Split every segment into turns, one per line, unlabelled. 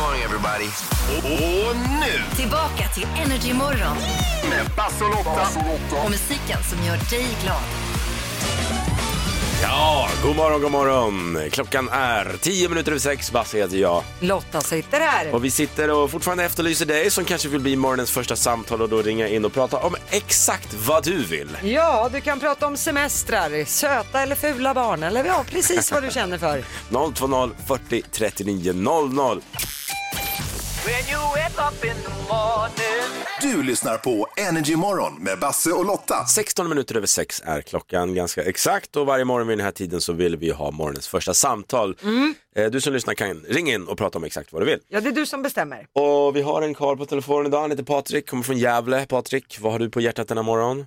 morning everybody. Och, och nu
Tillbaka till Energy Morgon
med Basse och Lotta.
och musiken som gör dig glad.
Ja, god morgon, god morgon. Klockan är tio minuter över sex. Basse heter jag.
Lotta sitter här.
Och vi sitter och fortfarande efterlyser dig som kanske vill bli morgonens första samtal och då ringa in och prata om exakt vad du vill.
Ja, du kan prata om semestrar, söta eller fula barn eller ja, precis vad du känner för.
020 40 39 00.
Du lyssnar på Energy Morgon med Basse och Lotta.
16 minuter över sex är klockan ganska exakt och varje morgon vid den här tiden så vill vi ha morgonens första samtal. Eh, Du som lyssnar kan ringa in och prata om exakt vad du vill.
Ja, det är du som bestämmer.
Och vi har en karl på telefonen idag, han heter Patrik, kommer från Gävle. Patrik, vad har du på hjärtat denna morgon?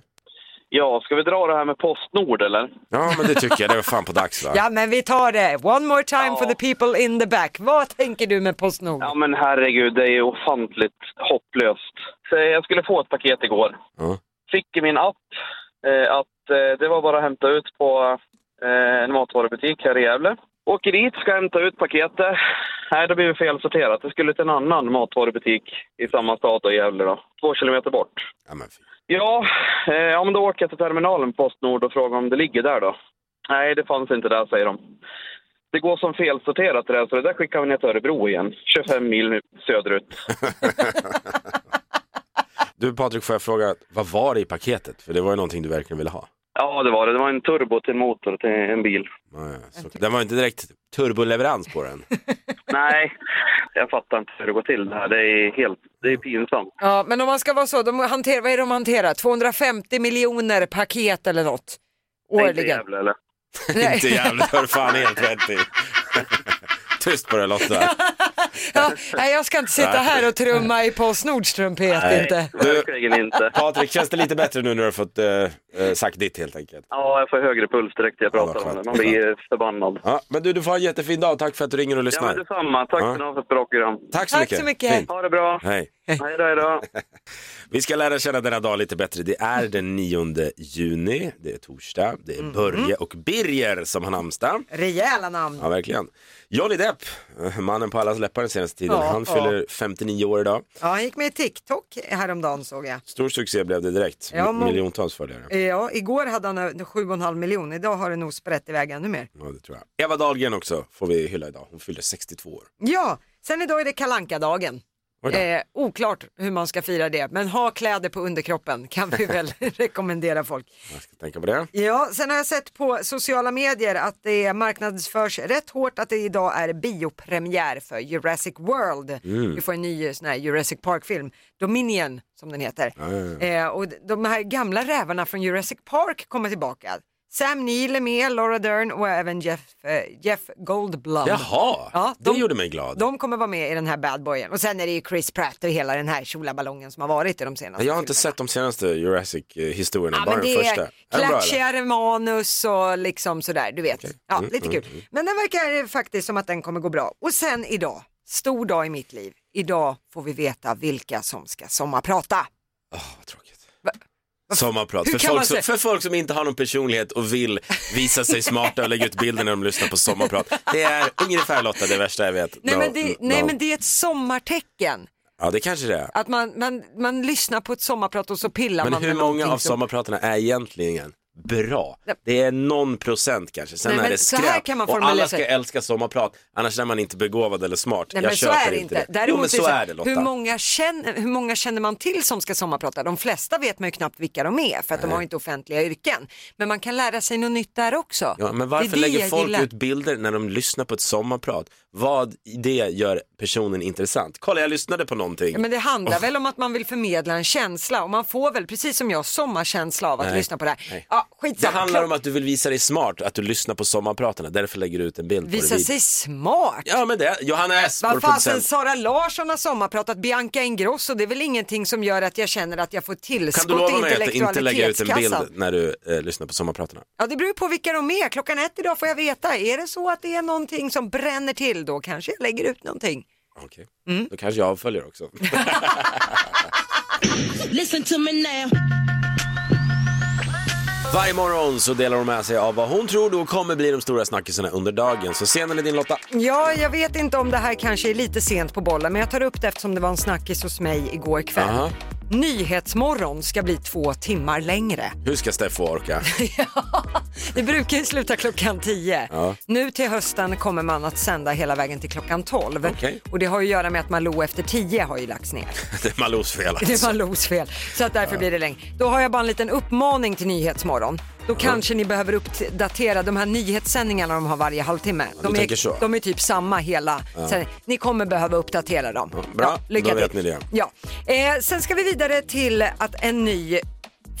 Ja, ska vi dra det här med Postnord eller?
Ja, men det tycker jag, det var fan på dags va?
Ja, men vi tar det. One more time for the people in the back. Vad tänker du med Postnord?
Ja men herregud, det är ju ofantligt hopplöst. Så jag skulle få ett paket igår.
Ja.
Fick i min app eh, att eh, det var bara att hämta ut på eh, en matvarubutik här i Gävle. Åker dit, ska hämta ut paketet. Nej, då blir vi felsorterat. Det skulle till en annan matvarubutik i samma stad då, i Gävle då. Två kilometer bort.
Ja, men fy.
Ja, eh, ja men då åker jag till terminalen på Postnord och frågar om det ligger där då. Nej, det fanns inte där, säger de. Det går som felsorterat det där, så det där skickar vi ner till Örebro igen. 25 mil nu söderut.
Du Patrik, får jag fråga, vad var det i paketet? För det var ju någonting du verkligen ville ha.
Ja, det var det. Det var en turbo till en motor till en bil.
Ja, ja, så, den var ju inte direkt turboleverans på den.
Nej, jag fattar inte hur det går till det här. Det är helt det är pinsamt.
Ja, men om man ska vara så, de hanterar, vad är det de hanterar? 250 miljoner paket eller något
Det är inte
årligen.
jävla, eller?
Nej.
inte jävligt, hör fan helt rätt i. Tyst på det Lotta.
Ja, nej, jag ska inte sitta här och trumma i Postnords trumpet inte.
Verkligen inte.
Patrik, känns det lite bättre nu när du har fått eh, eh, sagt ditt helt enkelt?
Ja, jag får högre puls direkt när jag
Ja,
pratar
vad
om det. Man
skönt.
blir förbannad.
Ja, men du, du får ha en jättefin dag. Tack för att du ringer och
Ja,
lyssnar.
men detsamma. Tack
Ja.
för ja. för ett bra program.
Tack så
Tack
mycket.
så mycket.
Fint.
Ha det bra.
Hej.
Hej då, hej då.
Vi ska lära känna denna dag lite bättre. Det är den 9 juni, det är torsdag, det
Mm.
är Börje och Birger som har namnsdag.
Rejäla namn.
Ja, verkligen. Johnny Depp, eh, mannen på allas läppar den senaste tiden,
Ja,
han
ja.
fyller 59 år idag.
Ja, han gick med i TikTok häromdagen såg jag.
Stor succé blev det direkt,
Ja,
M-
må-
miljontals följare.
Ja, igår hade han eh, 7,5 miljoner, idag har det nog sprätt iväg ännu mer.
Ja, det tror jag. Eva Dahlgren också får vi hylla idag, hon fyller 62 år.
Ja, sen idag är det kalankadagen.
Oj då.
Eh, oklart hur man ska fira det, men ha kläder på underkroppen kan vi väl rekommendera folk.
Jag ska tänka på det.
Ja, sen har jag sett på sociala medier att det marknadsförs rätt hårt att det idag är biopremiär för Jurassic World.
Mm.
Vi får en ny eh, sån här Jurassic Park-film, Dominion som den heter. Eh, och de här gamla rävarna från Jurassic Park kommer tillbaka. Sam Neill är med, Laura Dern och även Jeff, eh, Jeff Goldblum.
Jaha,
Ja,
det
de-
gjorde mig glad.
De kommer vara med i den här bad boyen. Och sen är det ju Chris Pratt och hela den här tjolaballongen som har varit i de senaste
Jag har inte
filmerna.
sett de senaste Jurassic-historierna,
Ja,
bara
men
den
det
första.
är
Är den bra, eller?
klatschigare manus och liksom sådär, du vet. Ja,
Mm,
lite kul. Men den verkar eh, faktiskt som att den kommer gå bra. Och sen idag, stor dag i mitt liv. Idag får vi veta vilka som ska sommarprata.
Åh, vad tråkigt. Sommarprat,
Hur
för
kan
folk,
man
som,
säga-
för folk som inte har någon personlighet och vill visa sig smarta och lägga ut bilder när de lyssnar på sommarprat. Det är ungefär Lotta det värsta jag vet.
Nej,
No,
men, det,
no.
nej men det är ett sommartecken.
Ja det kanske det är.
Att man, man, man lyssnar på ett sommarprat och så pillar
Men
man
hur
med
många
någonting
av
som-
sommarpratarna är egentligen bra?
Nej.
Det är någon procent kanske, sen
Nej,
är
men
det
så här
skräp.
kan man
och
formulera
alla
sig.
ska älska sommarprat, annars är man inte begåvad eller smart.
Nej,
jag
men så
köper
är det inte.
det. Jo men
är
så
här,
är det Lotta.
Hur många, känner, hur många känner man till som ska sommarprata? De flesta vet man ju knappt vilka de är för att de har inte offentliga yrken. Men man kan lära sig något nytt där också.
Ja, men
Det
varför
är det
lägger
jag
folk
gillar.
ut bilder när de lyssnar på ett sommarprat? Vad i det gör personen intressant? Kolla jag lyssnade på någonting.
Ja, men det handlar väl om att man vill förmedla en känsla och man får väl, precis som jag, sommarkänsla av att
Nej,
lyssna på det här.
nej.
Ja,
Det
skitsamma.
handlar om att du vill visa dig smart, att du lyssnar på sommarpratarna, därför lägger du ut en bild på
Visa
det.
sig smart.
Ja men det, Johanna S, vår
Vad fasen,
producent.
Sara Larsson har sommarpratat, Bianca Ingrosso, det är väl ingenting som gör att jag känner att jag får
Kan
tillskott
du lova
i
mig att inte lägga ut en bild
intellektualitetskassan?
när du eh, lyssnar på sommarpratarna?
Ja, det beror på vilka de är. Klockan ett idag får jag veta. Är det så att det är någonting som bränner till då kanske jag lägger ut någonting.
Okej,
Mm.
då kanske jag avföljer också. Varje morgon så delar hon med sig av vad hon tror då kommer bli de stora snackisarna under dagen. Så scenen är din Lotta.
Ja, jag vet inte om det här kanske är lite sent på bollen, men jag tar upp det eftersom det var en snackis hos mig igår kväll.
Aha.
Nyhetsmorgon ska bli två timmar längre.
Hur ska Steffo orka?
Det brukar ju sluta klockan 10.
Ja.
Nu till hösten kommer man att sända hela vägen till klockan 12.
Okej.
Och det har ju att göra med att Malou efter 10 har ju lagts ner.
Det är Malous fel
Det
alltså.
var Los fel. Så att därför blir det längre. Då har jag bara en liten uppmaning till Nyhetsmorgon. Då kanske ni behöver uppdatera de här nyhetssändningarna de har varje halvtimme.
du
De
tänker så.
är, de är typ samma hela. sändning. ni kommer behöva uppdatera dem.
bra. Då vet ni det.
Ja. Eh, sen ska vi vidare till att en ny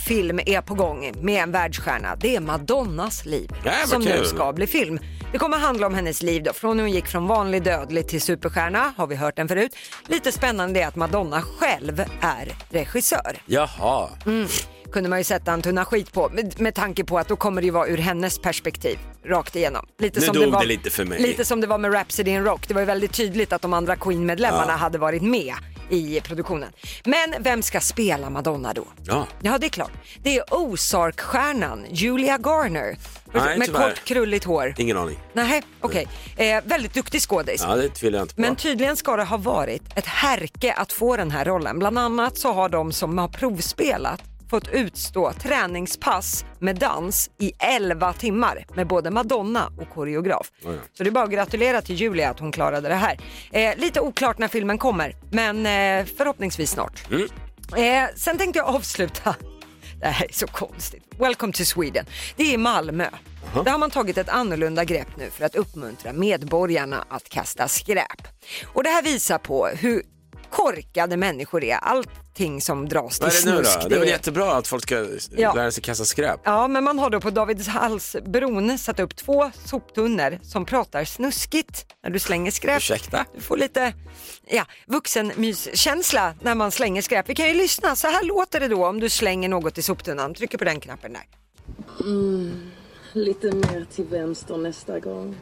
film är på gång med en världsstjärna. Det är Madonnas liv
Ja, vad
som nu
kul.
ska bli film. Det kommer handla om hennes liv då, från när hon gick från vanlig dödlig till superstjärna, har vi hört den förut. Lite spännande är att Madonna själv är regissör.
Jaha.
Mm. Kunde man ju sätta en tunna skit på, med, med tanke på att då kommer det ju vara ur hennes perspektiv, rakt igenom. Lite
Nu dog det lite för mig.
Lite som det var med Rhapsody in Rock, det var ju väldigt tydligt att de andra Queen-medlemmarna
Ja.
hade varit med i produktionen. Men vem ska spela Madonna då?
Ja.
Ja, det är klart. Det är Ozark-stjärnan Julia Garner.
Nej,
med
tyvärr.
kort krulligt hår.
Ingen aning.
Nej, okej. Eh, väldigt duktig skådis.
Ja, det tvivlar jag inte på.
Men tydligen ska det ha varit ett härke att få den här rollen. Bland annat så har de som har provspelat fått utstå träningspass med dans i 11 timmar med både Madonna och koreograf. Så det är bara att gratulera till Julia att hon klarade det här. Eh, lite oklart när filmen kommer, men eh, förhoppningsvis snart. Eh, sen tänkte jag avsluta. Det här är så konstigt. Welcome to Sweden. Det är i Malmö. Där har man tagit ett annorlunda grepp nu för att uppmuntra medborgarna att kasta skräp. Och det här visar på hur korkade människor är. Allting som dras till
Vad är det nu
snusk.
då? Det är väl
det är-
jättebra att folk ska
Ja.
lära sig kasta skräp?
Ja, men man har då på Davidshallsbron satt upp två soptunnor som pratar snuskigt när du slänger skräp.
Ursäkta?
Du får lite ja, vuxenmyskänsla när man slänger skräp. Vi kan ju lyssna. Så här låter det då om du slänger något i soptunnan. Trycker på den knappen där.
Lite mer till vänster nästa gång.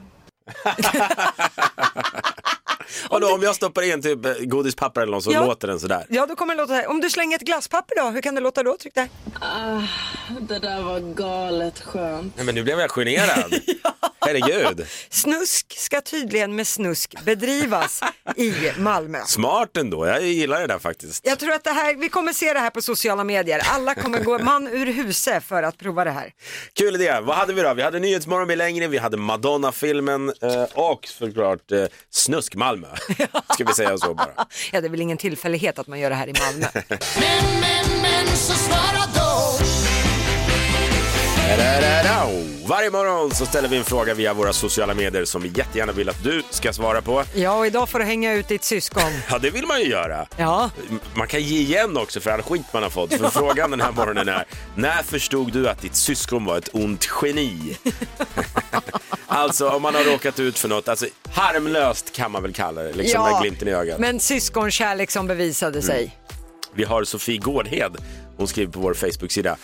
Och då, om jag stoppar in typ eh, godispapper eller något så
Ja.
låter den sådär.
Ja, då kommer det låta så här. Om du slänger ett glasspapper då, hur kan det låta då? Tryck där.
Det där var galet skönt.
Nej men nu blev jag generad. Herregud.
Snusk ska tydligen med snusk bedrivas i Malmö.
Smart ändå, jag gillar det där faktiskt.
Jag tror att det här, vi kommer se det här på sociala medier. Alla kommer gå man ur huse för att prova det här.
Kul idé. Vad hade vi då? Vi hade Nyhetsmorgon blir längre, vi hade Madonna-filmen eh, och såklart eh, Snusk Malmö. Ska vi säga så bara.
Ja, det är väl ingen tillfällighet att man gör det här i Malmö.
Da-da-da-da. Varje morgon så ställer vi en fråga via våra sociala medier som vi jättegärna vill att du ska svara på.
Ja, och idag får du hänga ut ditt syskon.
Ja, det vill man ju göra.
Ja.
Man kan ge igen också för all skit man har fått. För frågan den här morgonen är, när förstod du att ditt syskon var ett ont geni? alltså om man har råkat ut för något, alltså harmlöst kan man väl kalla det, liksom med glimten i ögat.
Men syskonkärlek som bevisade sig.
Vi har Sofie Gårdhed, hon skriver på vår Facebook-sida.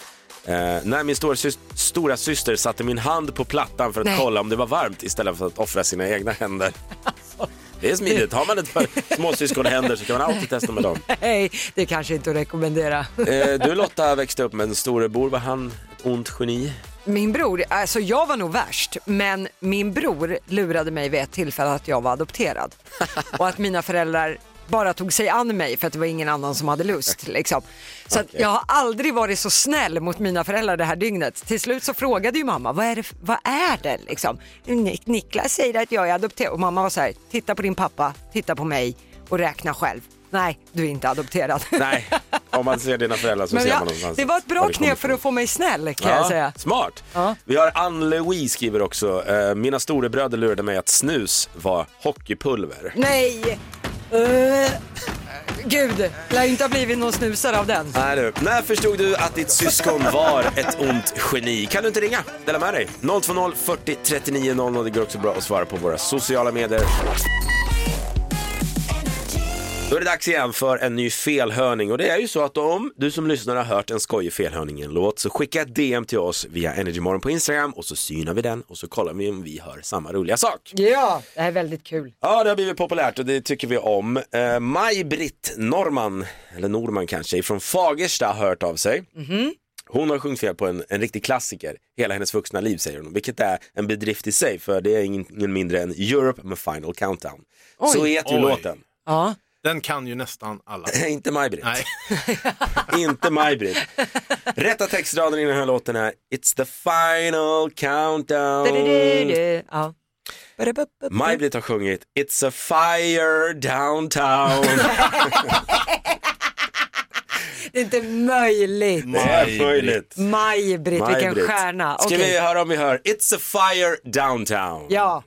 Eh, när min stora, sys- stora syster satte min hand på plattan för att
Nej.
kolla om det var varmt istället för att offra sina egna händer.
Alltså,
Det är smidigt, har man ett par småsyskonhänder så kan man alltid testa med dem.
Nej, det är kanske inte att rekommendera.
Eh, du Lotta växte upp med en storebror, var han ett ont geni?
Min bror, alltså jag var nog värst, men min bror lurade mig vid ett tillfälle att jag var adopterad. Och att mina föräldrar bara tog sig an mig för att det var ingen annan som hade lust. Liksom. Så att
Okej.
jag har aldrig varit så snäll mot mina föräldrar det här dygnet. Till slut så frågade ju mamma, vad är det? Vad är det? Liksom. Nik- Niklas säger att jag är adopterad. Och mamma var så här, titta på din pappa, titta på mig och räkna själv. Nej, du är inte adopterad.
Nej, om man ser dina föräldrar så
Men
ser
ja,
man någonstans.
det var ett bra
var det kommer
knep för att få mig snäll kan
Ja,
jag säga.
Smart.
Ja.
Vi har Ann-Louise skriver också, eh, mina storebröder lurade mig att snus var hockeypulver.
Nej! Uh, gud, lär inte ha blivit någon snusare av den.
Nej du. När förstod du att ditt syskon var ett ont geni? Kan du inte ringa? Dela med dig. 020 40 39 00. Det går också bra att svara på våra sociala medier. Då är det dags igen för en ny felhörning och det är ju så att om du som lyssnar har hört en skojig felhörning i en låt så skicka ett DM till oss via Energymorgon på Instagram och så synar vi den och så kollar vi om vi hör samma roliga sak.
Ja, det här är väldigt kul.
Ja, det har blivit populärt och det tycker vi om. Eh, Maj-Britt Norman, eller Norman kanske, från Fagersta har hört av sig. Hon har sjungit fel på en, en riktig klassiker hela hennes vuxna liv säger hon, vilket är en bedrift i sig för det är ingen, ingen mindre än Europe med Final Countdown. Så heter ju
Oj.
låten.
Ja.
Den kan ju nästan alla.
Inte Maj-Britt.
Nej,
Inte Maj-Britt. Rätta textraden i den här låten är It's the final countdown.
Du-du-du-du. Ja.
Maj-Britt har sjungit It's a fire downtown.
Det är inte möjligt.
Det är möjligt.
Maj-Britt, vilken
Maj-Britt.
stjärna.
Ska
Okej.
vi höra om vi hör It's a fire downtown.
Ja.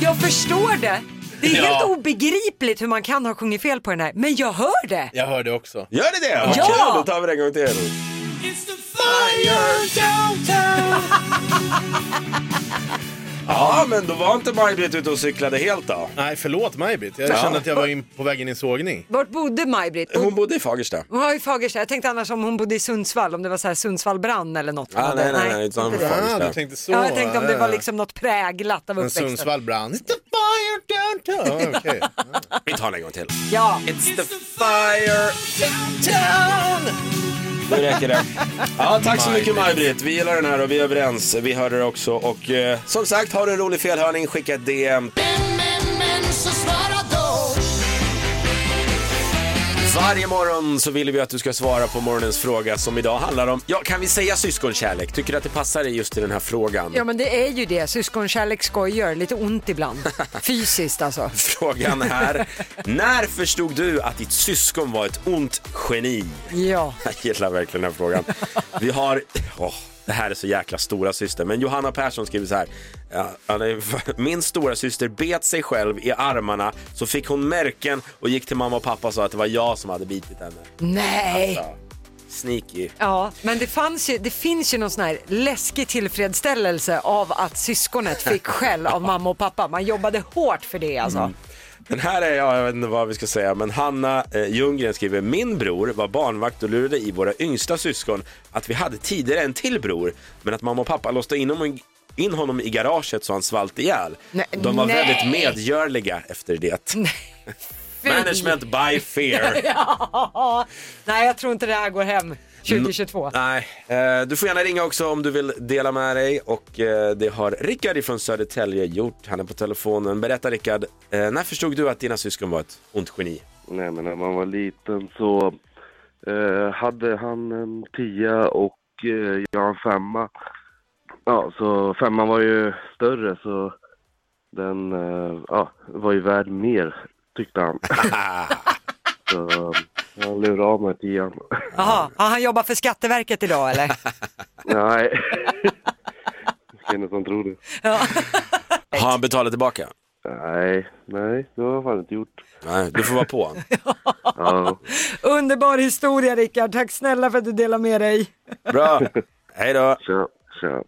Jag förstår det. Det är
Ja.
helt obegripligt hur man kan ha sjungit fel på den här, men jag hör det.
jag hörde också.
Gör det det? Vad
Ja!
kul, då tar vi det en gång till. Ja, men då var inte Maj-Britt ute och cyklade helt då.
Nej, förlåt Maj-Britt. Jag kände att jag var in på vägen i en sågning.
Vart bodde Maj-Britt?
Hon bodde i Fagersta.
Hon var i Fagersta. Jag tänkte annars om hon bodde i Sundsvall, om det var så här Sundsvall brann eller något. hon
Ah,
bodde.
nej, nej, nej, utan hon var i
Ah, du
Fagersta.
tänkte så.
Ja, jag tänkte om det var
Ah.
liksom något präglat av
Men
uppväxten.
Sundsvall brann. It's the fire downtown. Ah, okej.
Vi tar den en gång till.
Ja,
It's the fire downtown. Nu räcker det. Ja, tack så mycket Maj-Britt. Vi gillar den här och vi är överens. Vi hörde det också. Och eh, som sagt, har du en rolig felhörning, skicka ett DM. Varje morgon så vill vi att du ska svara på morgonens fråga som idag handlar om, ja kan vi säga syskonkärlek? Tycker du att det passar dig just i den här frågan?
ja, men det är ju det. Syskonkärlek skojar lite ont ibland. Fysiskt alltså.
Frågan är, när förstod du att ditt syskon var ett ont geni?
Ja.
Jag gillar verkligen den här frågan. Vi har, åh, det här är så jäkla stora syster. men Johanna Persson skriver så här. Ja, ja, det är- Min stora syster bet sig själv i armarna, så fick hon märken och gick till mamma och pappa och sa att det var jag som hade bitit henne.
Nej.
Sneaky.
Ja, men det, fanns ju, det finns ju någon sån här läskig tillfredsställelse av att syskonet fick skäll av mamma och pappa. Man jobbade hårt för det alltså.
Mm. Den här är, ja, jag vet inte vad vi ska säga, men Hanna eh, Ljunggren skriver Min bror var barnvakt och lurade i våra yngsta syskon att vi hade tidigare en till bror, men att mamma och pappa låste in honom, in honom i garaget så han svalt ihjäl.
Nej,
De var
nej.
väldigt medgörliga efter det. Management by fear.
Ja. Nej, jag tror inte det här går hem 2022.
Nej, eh, du får gärna ringa också om du vill dela med dig och eh, det har Rickard från Södertälje gjort. Han är på telefonen. Berätta Rickard, eh, när förstod du att dina syskon var ett ont geni?
Nej, men när man var liten så eh, hade han en tia och eh, jag en femma. Ja, så femman var ju större så den eh, ja, var ju värd mer, tyckte han. så han lurade av mig tian.
Jaha, ja, han jobbar för Skatteverket idag eller?
Nej. Vilken som tror det.
Har han betalat tillbaka?
Nej, nej, det har jag fan inte gjort.
Nej, du får vara på.
Ja,
Underbar historia Rickard, tack snälla för att du delar med dig.
Bra. Hej då.
tja, tja.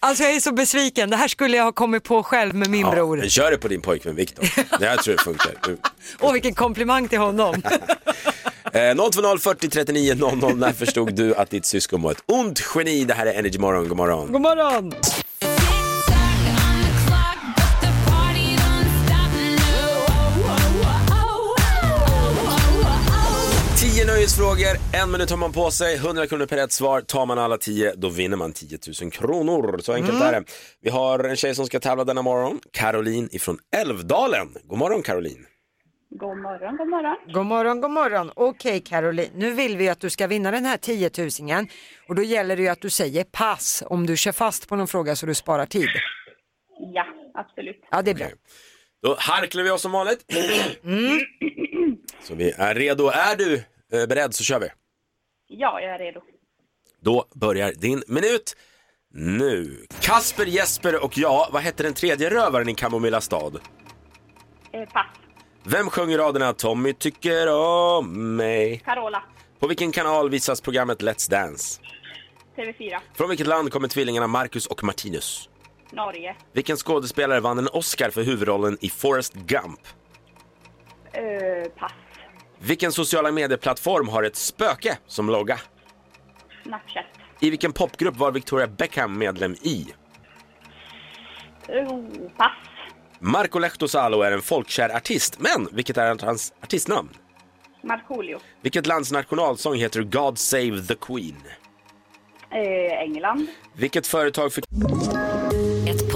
Alltså jag är så besviken, det här skulle jag ha kommit på själv med min bror.
men kör det på din pojkvän Viktor. Det här tror jag funkar. Nu.
Åh vilken komplimang till honom.
Eh, 020 40 39 00. När förstod du att ditt syskon var ett ont geni? Det här är Energy Morgon. God morgon.
God morgon!
Tio nöjesfrågor. En minut har man på sig. 100 kronor per rätt svar. Tar man alla tio, då vinner man 10 000 kronor. Så enkelt är det. Vi har en tjej som ska tävla denna morgon. Caroline ifrån Älvdalen. God morgon Caroline.
God morgon, god morgon.
God morgon, god morgon. Okej Caroline, nu vill vi att du ska vinna den här 10 000 och då gäller det ju att du säger pass om du kör fast på någon fråga så du sparar tid.
Ja, absolut.
Ja, det är bra.
Då harklar vi oss som vanligt. Så vi är redo. Är du eh, beredd så kör vi.
Ja, jag är redo.
Då börjar din minut nu. Kasper, Jesper och jag, vad hette den tredje rövaren i Kamomilla stad?
Eh, pass.
Vem sjöng raderna Tommy tycker om mig?
Carola,
På vilken kanal visas programmet Let's Dance?
TV4,
Från vilket land kommer tvillingarna Marcus och Martinus?
Norge,
Vilken skådespelare vann en Oscar för huvudrollen i Forrest Gump?
eh, pass.
Vilken sociala medieplattform har ett spöke som logga?
Snapchat.
I vilken popgrupp var Victoria Beckham medlem i?
Oh, pass.
Marco Lehtosalo är en folkkär artist, men vilket är hans artistnamn?
Markoolio.
Vilket lands nationalsång heter God Save the Queen?
Eh, England.
Vilket företag för...
Ett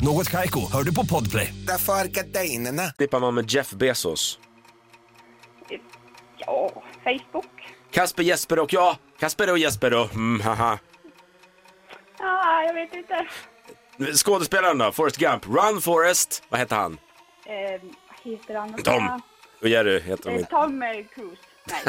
Något Kaiko, hör du på podplay.
Därför är gardinerna.
Flippar man med Jeff Bezos.
Eh, Ja, Facebook.
Kasper, Jesper och ja, Kasper och Jesper och mm, haha.
Ah, jag vet inte.
Skådespelaren då, Forrest Gump. Run Forrest, vad heter han?
Eh, vad heter han?
Tom. Och Jerry heter de
Eh,
inte.
Tom eh, Cruise. Nej.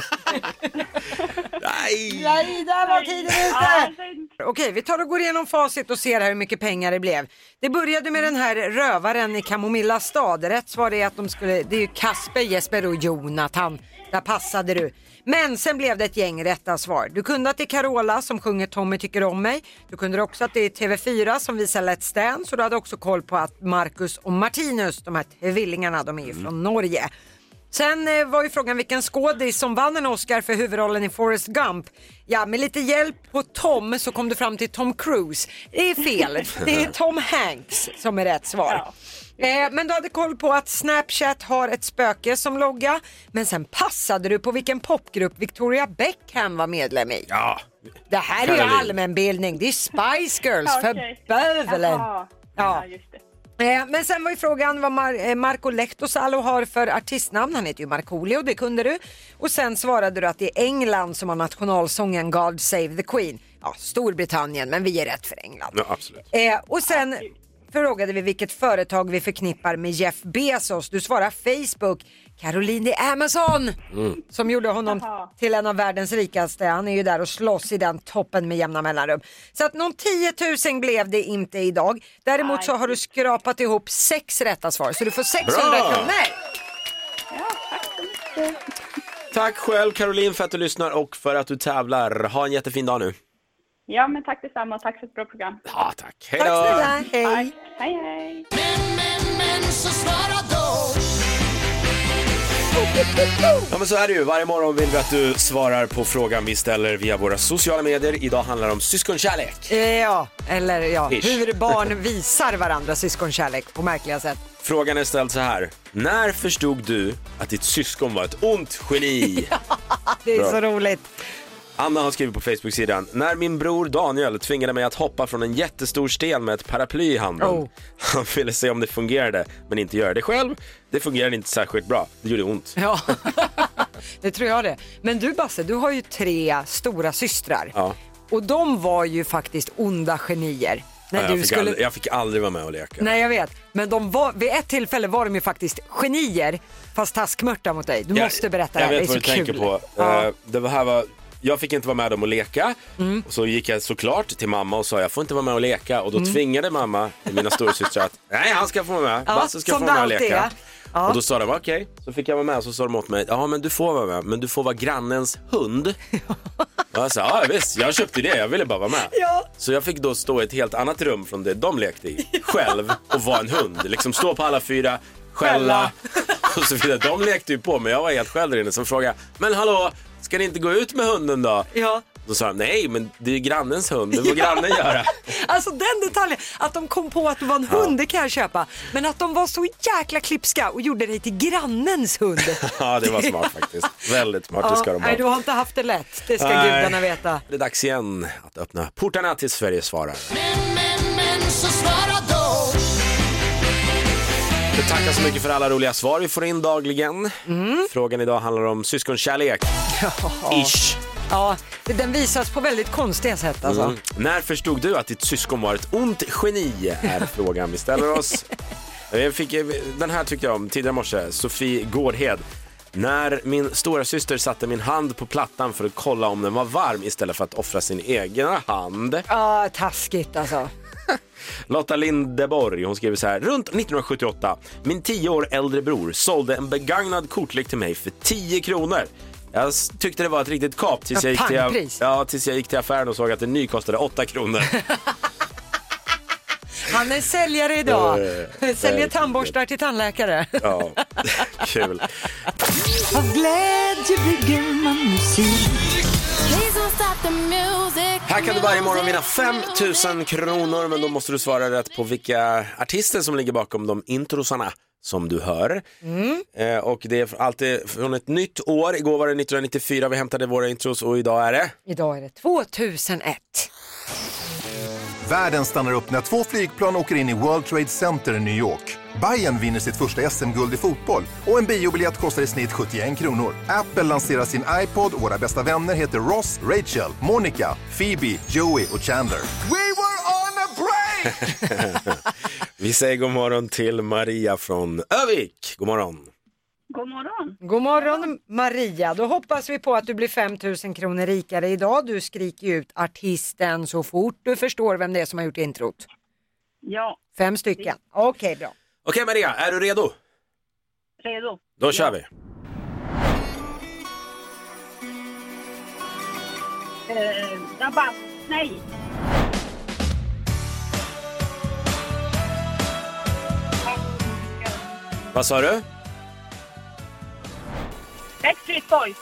Nej!
Nej, där var tiden
Ah,
ute!
sen-
Okej, vi tar och går igenom facit och ser här hur mycket pengar det blev. Det började med den här rövaren i Kamomilla stad. Rätt svar är att de skulle, det är ju Kasper, Jesper och Jonathan. Där passade du. Men sen blev det ett gäng rätta svar. Du kunde att det är Carola som sjunger Tommy tycker om mig. Du kunde också att det är TV4 som visar Let's Dance och du hade också koll på att Marcus och Martinus, de här tvillingarna, de är ju från Norge. Sen eh, var ju frågan vilken skådis som vann en Oscar för huvudrollen i Forrest Gump. Ja, med lite hjälp på Tom så kom du fram till Tom Cruise. Det är fel. Det är Tom Hanks som är rätt svar. Eh, men du hade koll på att Snapchat har ett spöke som logga. Men sen passade du på vilken popgrupp Victoria Beckham var medlem i.
Ja,
Det här är ju
Caroline.
allmänbildning. Det är Spice Girls
Ja,
för
okej.
bövelen.
Jaha.
Ja.
Ja, just det.
Eh, Men sen var ju frågan vad Mar- eh, Marco Lehtosalo har för artistnamn. Han heter ju Markoolio, det kunde du. Och sen svarade du att det är England som har nationalsången God Save the Queen. Ja, Storbritannien, men vi är rätt för England.
ja absolut.
Eh, och sen frågade vi vilket företag vi förknippar med Jeff Bezos. Du svarar Facebook. Caroline i Amazon
Mm.
som gjorde honom
Jaha.
till en av världens rikaste. Han är ju där och slåss i den toppen med jämna mellanrum. Så att någon 10 000 blev det inte idag. Däremot så har du skrapat ihop sex rätta svar så du får 600
Bra!
kronor.
Ja, tack så mycket.
Tack själv Caroline för att du lyssnar och för att du tävlar. Ha en jättefin dag nu.
Ja, men tack detsamma och tack för ett bra program.
Ja, tack. Hej
Tack
då!
snälla, hej.
Tack. Hej, hej.
Ja men så är det ju, varje morgon vill vi att du svarar på frågan vi ställer via våra sociala medier. Idag handlar det om syskonkärlek.
Eh, Ja, eller ja,
Ish.
hur barn visar varandra syskonkärlek på märkliga sätt.
Frågan är ställd så här. När förstod du att ditt syskon var ett ont geni?
Det är
Bra.
så roligt.
Anna har skrivit på Facebook-sidan. När min bror Daniel tvingade mig att hoppa från en jättestor sten med ett paraply i handen.
Oh.
Han ville se om det fungerade, men inte göra det själv. Det fungerade inte särskilt bra. Det gjorde ont.
Ja, det tror jag det. Men du Basse, du har ju tre stora systrar.
Ja.
Och de var ju faktiskt onda genier. När
jag,
du
fick
skulle...
aldrig, jag fick aldrig vara med och leka.
Nej jag vet, men de var, vid ett tillfälle var de ju faktiskt genier fast taskmörta mot dig. Du måste berätta det
jag,
här,
Jag
det är
vet
så
vad du
kul.
tänker på.
Ja. Mm.
Eh, Det var här var, jag fick inte vara med dem och leka. Och så gick jag såklart till mamma och sa jag får inte vara med och leka. Och då
Mm.
tvingade mamma mina storasystrar att nej han ska få vara med.
Ja,
Basse ska få
som
vara med och
det alltid
leka.
är. Ja.
Och då sa de okej. Så fick jag vara med och så sa de åt mig ja men du får vara med men du får vara grannens hund. Och jag sa ja visst jag köpte det jag ville bara vara med.
Ja.
Så jag fick då stå i ett helt annat rum från det de lekte i själv och vara en hund. Liksom stå på alla fyra, skälla och så vidare. De lekte ju på men jag var helt själv där inne. Sen frågade jag, men hallå, ska ni inte gå ut med hunden då?
Ja.
Då sa de, nej men det är ju grannens hund, det får grannen göra.
Alltså den detaljen, att de kom på att du var en hund, det kan jag köpa. Men att de var så jäkla klipska och gjorde dig till grannens hund.
Ja, det var smart faktiskt. Väldigt smart, det ska de
nej, du
ha.
har inte haft det lätt, det ska
Nej.
gudarna veta.
Det är dags igen att öppna portarna till Sverige svarar. Vi tackar så mycket för alla roliga svar vi får in dagligen. Frågan idag handlar om syskonkärlek. Ish.
Ja, den visas på väldigt konstiga sätt alltså.
Mm. När förstod du att ditt syskon var ett ont geni? Är frågan vi ställer oss. Jag fick, eh, den här tyckte jag om tidigare i morse. Sofie Gårdhed. När min stora syster satte min hand på plattan för att kolla om den var varm istället för att offra sin egna hand.
Ja, taskigt alltså.
Lotta Lindeborg hon skriver så här. Runt 1978, min tio år äldre bror sålde en begagnad kortlek till mig för 10 kronor. Jag s- tyckte det var ett riktigt kap tills,
Ja,
jag gick, till,
pangpris.
ja, tills jag gick till affären och såg att en ny kostade 8 kronor.
Han är säljare idag.
Eh,
Säljer
verkligen.
tandborstar till tandläkare.
Ja, kul.
Av glädje bygger man musik.
Här kan du varje morgon vinna 5 000 kronor men då måste du svara rätt på vilka artister som ligger bakom de introsarna som du hör. Eh, och det är alltid från ett nytt år. Igår var det 1994 vi hämtade våra intros och idag är det?
Idag är det 2001.
Världen stannar upp när två flygplan åker in i World Trade Center i New York. Bayern vinner sitt första SM-guld i fotboll och en biobiljett kostar i snitt 71 kronor. Apple lanserar sin iPod och våra bästa vänner heter Ross, Rachel, Monica, Phoebe, Joey och Chandler. We were on a break!
vi säger god morgon till Maria från Övik. God morgon.
God morgon.
God morgon Maria. Då hoppas vi på att du blir 5 000 kronor rikare idag. Du skriker ju ut artisten så fort du förstår vem det är som har gjort introt.
Ja,
Fem stycken. Okej, bra.
Okej Maria, är du redo?
redo.
Då kör vi.
Eh, rabatt. Nej.
Vad sa du?
Backstreet Boys.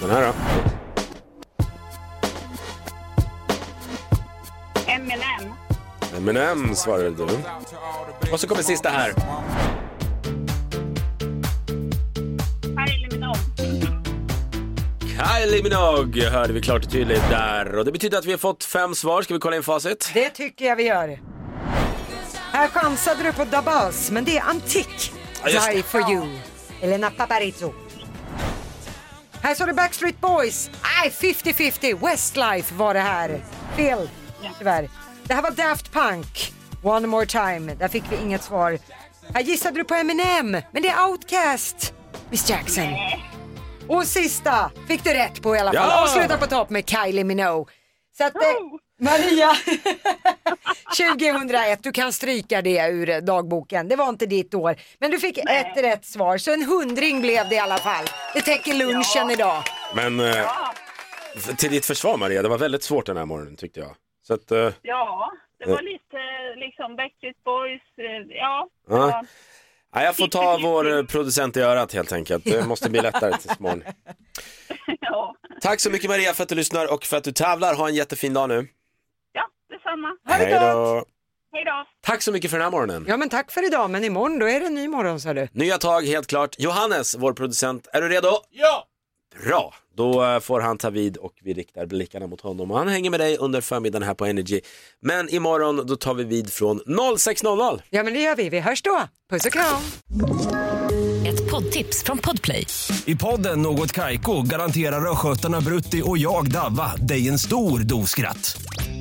Den här då?
Eminem.
Eminem svarade du. Och så kommer sista här.
Kylie Minogue.
Kylie Minogue hörde vi klart och tydligt där. Och det betyder att vi har fått fem svar. Ska vi kolla in facit?
Det tycker jag vi gör. Här chansade du på Dabas, men det är antik.
Ja, just det.
Die for you. Elena Paparizou. Här står det Backstreet Boys. Nej, 50-50. Westlife var det här. Fel, tyvärr. Det här var Daft Punk. One more time. Där fick vi inget svar. Här gissade du på Eminem, men det är Outcast. Miss Jackson. Och sista fick du rätt på i alla fall.
Ja!
Och sluta på topp med Kylie Minogue. Så att, eh, Maria, 2001, du kan stryka det ur eh, dagboken. Det var inte ditt år. Men du fick ett rätt svar, så en hundring blev det i alla fall. Det täcker lunchen idag.
Men eh, f- till ditt försvar Maria, det var väldigt svårt den här morgonen tyckte jag. Så att, eh,
Ja, det var
Eh.
lite liksom Backstreet Boys. eh, Ja, det
Ja.
var-
ja, jag får ta vår eh, producent i örat helt enkelt. Det måste bli lättare tills imorgon.
ja.
Tack så mycket Maria för att du lyssnar och för att du tävlar. Ha en jättefin dag nu.
ja detsamma.
då.
Hej då.
Tack så mycket för den här morgonen.
Ja men tack för idag, men imorgon då är det en ny morgon sa du.
Nya tag helt klart. Johannes, vår producent, är du redo?
Ja!
Bra, då eh, får han ta vid och vi riktar blickarna mot honom. Och han hänger med dig under förmiddagen här på Energy. Men imorgon då tar vi vid från 06.00.
Ja men det gör vi, vi hörs då. Puss och kram.
Ett poddtips från Podplay.
I podden Något Kaiko garanterar östgötarna Brutti och jag, Davva, dig en stor dos skratt.